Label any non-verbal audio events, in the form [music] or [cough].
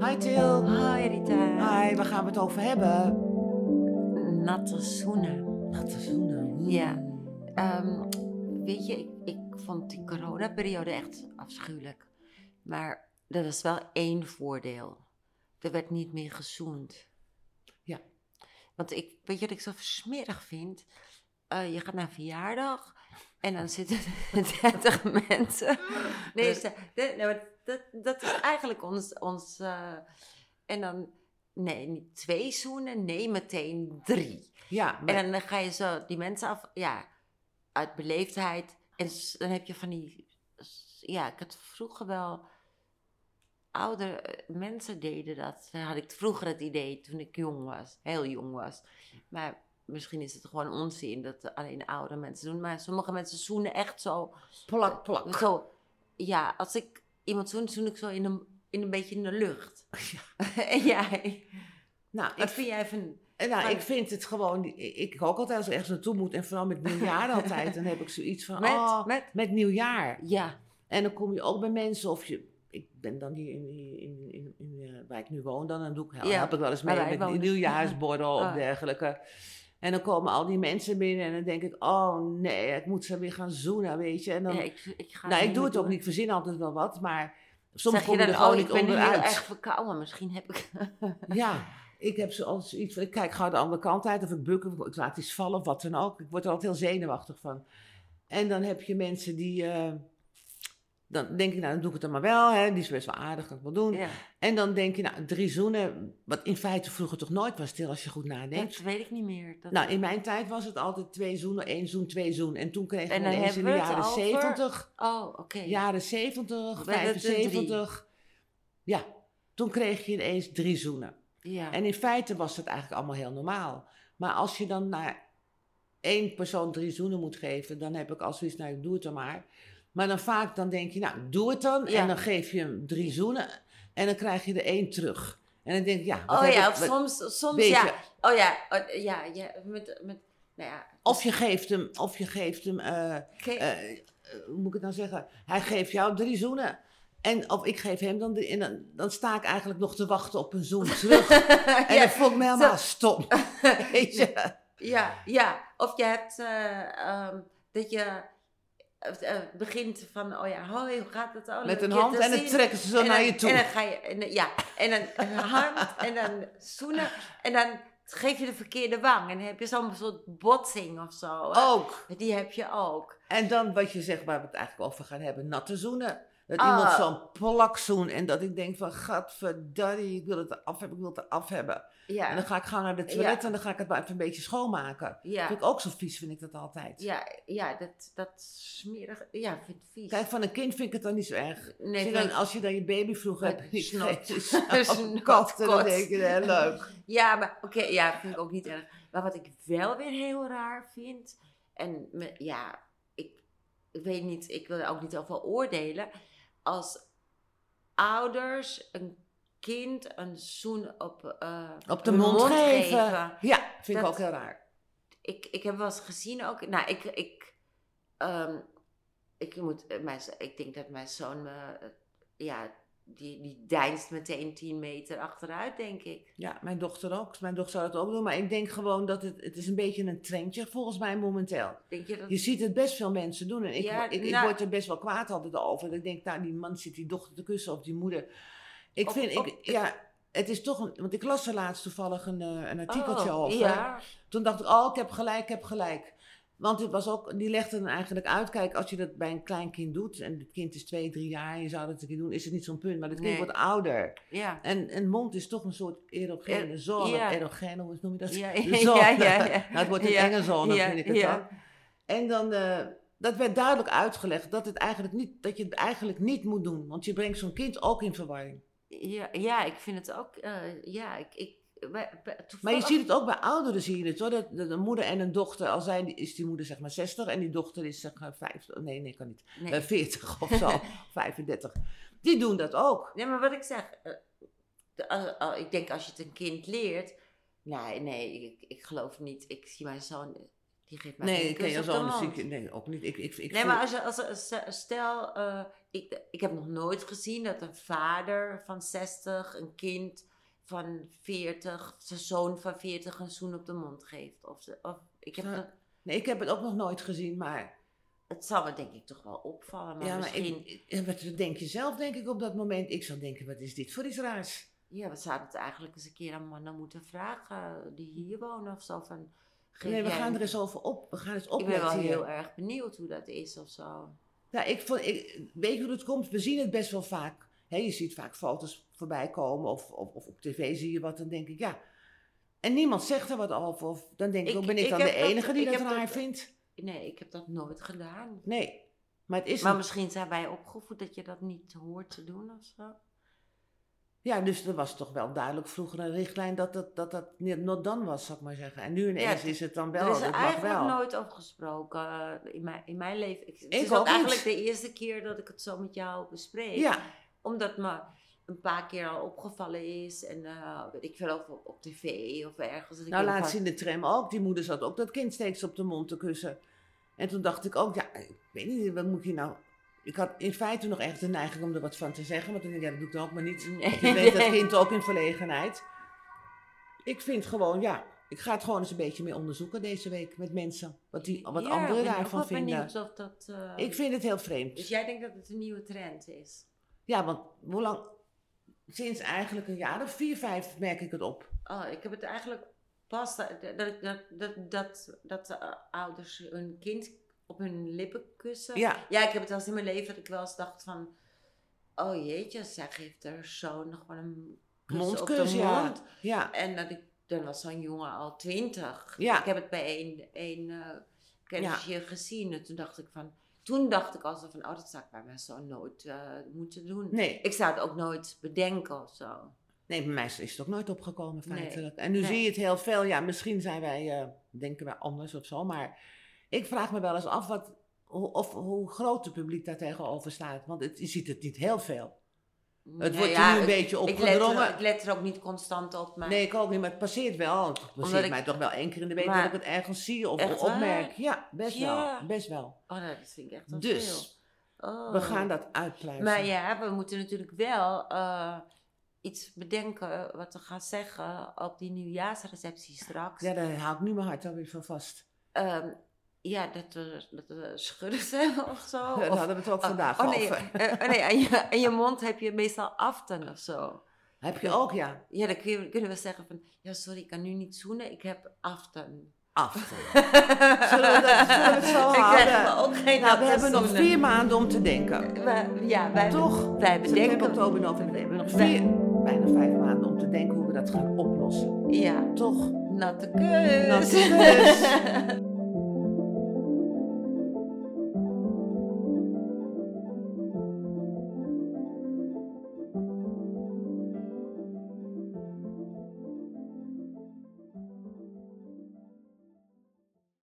Hi Til. Hoi Rita. Hi, waar gaan we het over hebben? Natte schoenen. Natte schoenen. Ja. Ehm, weet je, ik, ik vond die coronaperiode echt afschuwelijk. Maar er was wel één voordeel. Er werd niet meer gezoend. Ja. Want ik, weet je wat ik zo smerig vind? Eh, je gaat naar een verjaardag en dan zitten [laughs] er 30 mensen. Nee, ze- de- nou, maar dat, dat is eigenlijk ons. ons eh, en dan, nee, niet twee zoenen, nee, meteen drie. Ja, maar- En dan ga je zo die mensen af, ja, uit beleefdheid. En s- dan heb je van die, s- ja, ik had vroeger wel, oudere eh, mensen deden dat. Dan had ik vroeger het idee, toen ik jong was, heel jong was. Maar misschien is het gewoon onzin dat alleen oude mensen doen. Maar sommige mensen zoenen echt zo, plak, plak. zo ja, als ik iemand zoen, zoen ik zo in een, in een beetje in de lucht. [laughs] en jij, Nou, ik wat vind jij van... En Nou, Maar- ik vind het gewoon, ik ik ook altijd als ik ergens naartoe moet en vooral met nieuwjaar [laughs] altijd, dan heb ik zoiets van, Met, oh, met, met nieuwjaar. ja, En dan kom je ook bij mensen of je, ik ben dan hier in, in, in, in, eh, waar ik nu woon, dan, dan doe ik, help Ja, ik wel eens waar mee wij met wonen. [laughs] nieuwjaarsborrel of Ah. dergelijke. En dan komen al die mensen binnen en dan denk ik, oh nee, ik moet ze weer gaan zoenen, weet je. En dan, ja, ik, ik ga nou, ik niet doe meer het ook doen. niet, ik verzin altijd wel wat, maar soms Zeg kom je je dan, er gewoon oh, ik niet ben nu heel erg onderuit. verkouden. Misschien [laughs] heb ik... Ja, ik heb zoals iets van, ik kijk gauw de andere kant uit of ik buk of ik laat iets vallen of wat dan ook. Ik word er altijd heel zenuwachtig van. En dan heb je mensen die, eh, dan denk ik, nou dan doe ik het dan maar wel, hè. die is best wel aardig, kan ik wel doen. [laughs] Ja, En dan denk je, nou drie zoenen, wat in feite vroeger toch nooit was stil als je goed dat nadenkt. weet ik niet meer. Dat Nou, in mijn tijd was het altijd twee zoenen, één zoen, twee zoen. En toen kregen En we dan ineens in de hebben we het jaren over- zeventig, Oh, oké. jaren zeventig, Werd het een drie? vijfenzeventig. Ja, toen kreeg je ineens drie zoenen. Ja. En in feite was dat eigenlijk allemaal heel normaal. Maar als je dan naar één persoon drie zoenen moet geven, dan heb ik al zoiets, nou, ik doe het dan maar. Maar dan vaak dan denk je, nou, doe het dan. Ja. En dan geef je hem drie zoenen en dan krijg je er één terug. En dan denk ik, ja, wat oh heb ja, ik- of wat- soms, soms weet ja. je. Oh ja, oh, ja, ja, met, met, nou ja. Of je geeft hem, of je geeft hem eh, Oké. eh, eh, hoe moet ik het nou zeggen? Hij geeft jou drie zoenen. En of ik geef hem dan drie. En dan, dan sta ik eigenlijk nog te wachten op een zoen [laughs] terug. En [laughs] ja, dat vond ik me helemaal [laughs] stom. Weet je? ja, ja. Of je hebt eh, ehm, dat je eh, eh, begint van, oh ja, hoi, hoe gaat het? Oh, leuk Met een je hand te en dan zien. trekken ze zo en dan, naar je toe. En dan ga je, en dan- ja, en dan een hand en dan zoenen. En dan geef je de verkeerde wang. En dan heb je zo'n soort botsing of zo. hè. ook. Die heb je ook. En dan wat je zegt, waar we het eigenlijk over gaan hebben, natte zoenen. Dat Ah. iemand zo'n plak zoen en dat ik denk van, gadverdarrie, ik wil het eraf hebben, ik wil het eraf hebben. En dan Ja, ga ik gaan naar de toilet Ja. en dan ga ik het maar even een beetje schoonmaken. ja, Vind ik ook zo vies, vind ik dat altijd. ja, ja dat, dat smerig. Ja, ik vind het vies. Kijk, van een kind vind ik het dan niet zo erg. nee, Als je vind dan, ik- als je dan je baby vroeg [laughs] Nee, hebt, niet snot. [laughs] gegeten, is Snot, een kat, en dan kot. denk je, hè, leuk. ja, maar oké, ja, vind ik ook niet erg. Maar wat ik wel weer heel raar vind, en me- ja, ik, ik weet niet, ik wil er ook niet over oordelen, als ouders een kind een zoen op, eh, Op de hun mond geven. Ja, vind ik Dat- ook heel raar. ik, ik heb wel eens gezien ook. Nou, ik. Ik, ehm, ik, moet, eh, mijn, z- ik denk dat mijn zoon me. eh, Ja, die, die deinst meteen 10 meter achteruit, denk ik. Ja, mijn dochter ook. Dus Mijn dochter zou dat ook doen. Maar ik denk gewoon dat het, het is een beetje een trendje volgens mij momenteel. Denk je dat? Je ziet het best veel mensen doen. En ik, Ja, ik, ik nou- word er best wel kwaad altijd over. Dat ik denk, nou, die man zit die dochter te kussen of die moeder. Ik Op- vind, op- ik, ja, het is toch een... Want ik las er laatst toevallig een, eh, een artikeltje Oh, over. Ja. Toen dacht ik, oh, ik heb gelijk, ik heb gelijk. Want het was ook, die legde dan eigenlijk uit, kijk, als je dat bij een klein kind doet, en het kind is twee, drie jaar, en je zou dat een keer doen, is het niet zo'n punt. Maar het kind Nee. wordt ouder. Ja. En een mond is toch een soort erogene Er- zone. Eh, ja. Erogene, hoe noem je dat? [laughs] [laughs] Ja, De ja, zone. ja, ja. [laughs] Nou, het wordt een Ja, enge zone, ja, vind ik het ja. dan. En dan, eh, dat werd duidelijk uitgelegd, dat, het eigenlijk niet, dat je het eigenlijk niet moet doen. Want je brengt zo'n kind ook in verwarring. Ja, ja, ik vind het ook. eh, ja, ik. ik bij- bij- Maar je toevallig- ziet het ook bij ouderen, zie je het hoor. Dat, dat een moeder en een dochter, al zijn, die- is die moeder zeg maar 60 en die dochter is zeg maar 50, nee, nee, kan niet, Nee. Eh, 40 [laughs] of zo, 35. Die doen dat ook. Nee, maar wat ik zeg. eh, de- al- al- ik denk als je het een kind leert. Nee, nee, ik, ik geloof niet. Ik zie mijn zoon Die geeft mij Nee, geen ik ken je kus als op de andere mond. zieken. Nee, ook niet. Ik, ik, ik nee, voel- maar als, je- als, als- stel, eh, ik, ik heb nog nooit gezien dat een vader van 60, een kind van 40, zijn zoon van 40 een zoen op de mond geeft. Of, ze- of ik heb Ja. nog- nee, ik heb het ook nog nooit gezien, maar... het zal me denk ik toch wel opvallen, maar ja, maar misschien... ik, ik- wat denk je zelf, denk ik, op dat moment? Ik zou denken, wat is dit voor iets raars? Ja, we zouden het eigenlijk eens een keer aan mannen moeten vragen die hier wonen of zo. Van, geef Nee, we jij- gaan er eens over op. eh, We gaan eens Ik ben wel opletten heel hier. erg benieuwd hoe dat is of zo. Ja, Nou, ik vond, ik, weet je hoe het komt? We zien het best wel vaak. hè je ziet vaak foto's voorbij komen of, of, of op tv zie je wat. Dan denk ik, ja... En niemand zegt er wat over. Of dan denk ik, Ik- ook, ben ik, ik dan heb de dat- enige die ik dat heb raar dat- vindt? Nee, ik heb dat nooit gedaan. Nee. Maar het is Maar een- misschien zijn wij opgevoed dat je dat niet hoort te doen of zo. Ja, dus er was toch wel duidelijk vroeger een richtlijn dat dat, dat, dat niet- not dan was, zou ik maar zeggen. En nu ineens Ja, is het dan er wel, is er dat mag eigenlijk wel. nooit over gesproken eh, in mijn, in mijn leven. Ik, het Ik is ook ook niet. eigenlijk de eerste keer dat ik het zo met jou bespreek. Ja, Omdat me een paar keer al opgevallen is. En eh, weet ik veel of op, op tv of ergens. dat ik nou denk laatst van, in de tram ook. Die moeder zat ook dat kind steeds op de mond te kussen. En toen dacht ik ook, ja, ik weet niet, wat moet je nou... Ik had in feite nog echt de neiging om er wat van te zeggen, maar toen denk ik, ja, dat doe ik dan ook maar niet. [laughs] Nee. Je weet dat kind ook in verlegenheid. Ik vind gewoon, ja, ik ga het gewoon eens een beetje meer onderzoeken deze week met mensen. Wat, die, wat Ja, anderen ik ben ook daarvan wel vinden. benieuwd of dat... eh, Ik vind het heel vreemd. Dus jij denkt dat het een nieuwe trend is? Ja, want hoe lang? Sinds eigenlijk een jaar of vier, vijf merk ik het op. Oh, ik heb het eigenlijk pas dat, dat, dat, dat, dat, dat de, eh, ouders hun kind op hun lippen kussen. Ja, Ja, ik heb het wel eens in mijn leven dat ik wel eens dacht van... Oh jeetje, zij geeft haar zoon nog wel een kus op mondkus, de ja. mond. ja. En dat ik, dan was zo'n jongen al twintig. Ja. Ik heb het bij één, één eh, kennisje gezien. En toen dacht ik van... Toen dacht ik al zo van, oh, dat zou ik bij mijn zoon nooit eh, moeten doen. Nee, Ik zou het ook nooit bedenken of zo. nee, bij mij is het ook nooit opgekomen Nee. feitelijk. En nu Nee. zie je het heel veel. Ja, misschien zijn wij, eh, denken wij anders of zo. Maar ik vraag me wel eens af wat, hoe, of hoe groot het publiek daar tegenover staat. Want het, je ziet het niet heel veel. Het Nou wordt ja, er nu een ik- beetje ik let, er, opgedrongen. ik let er ook niet constant op, maar Nee, ik ook niet, maar het passeert wel. Het passeert ik- mij toch wel één keer in de week Maar- dat ik het ergens zie of Echt waar? opmerk. Ja, best Ja. wel. Best wel. oh, nee, dat vind ik echt wel Dus, veel. Oh. We gaan dat uitpluizen. Maar ja, we moeten natuurlijk wel eh, iets bedenken wat we gaan zeggen op die nieuwjaarsreceptie straks. Ja, daar hou ik nu mijn hart alweer van vast. Ehm, ja, dat we, dat we schudden zijn [laughs] of zo. [laughs] Daar Of- hadden we het ook oh, vandaag oh, nee, over. eh, oh nee, aan je, aan je mond heb je meestal aften of zo. Heb je ook, ja. Ja, dan kun je- kunnen we zeggen van, ja sorry, ik kan nu niet zoenen, ik heb aften. Af. [laughs] Zullen we dat- zullen we het zo [laughs] Ik krijg houden? me ook nou, geen we aften hebben nog zoenen. vier maanden om te denken. We- ja, wij, Toch? wij September, bedenken... oktober, november. We hebben nog vier, bijna vijf maanden om te denken hoe we dat gaan oplossen. Ja, Toch? natte kus. dus- Natte kus.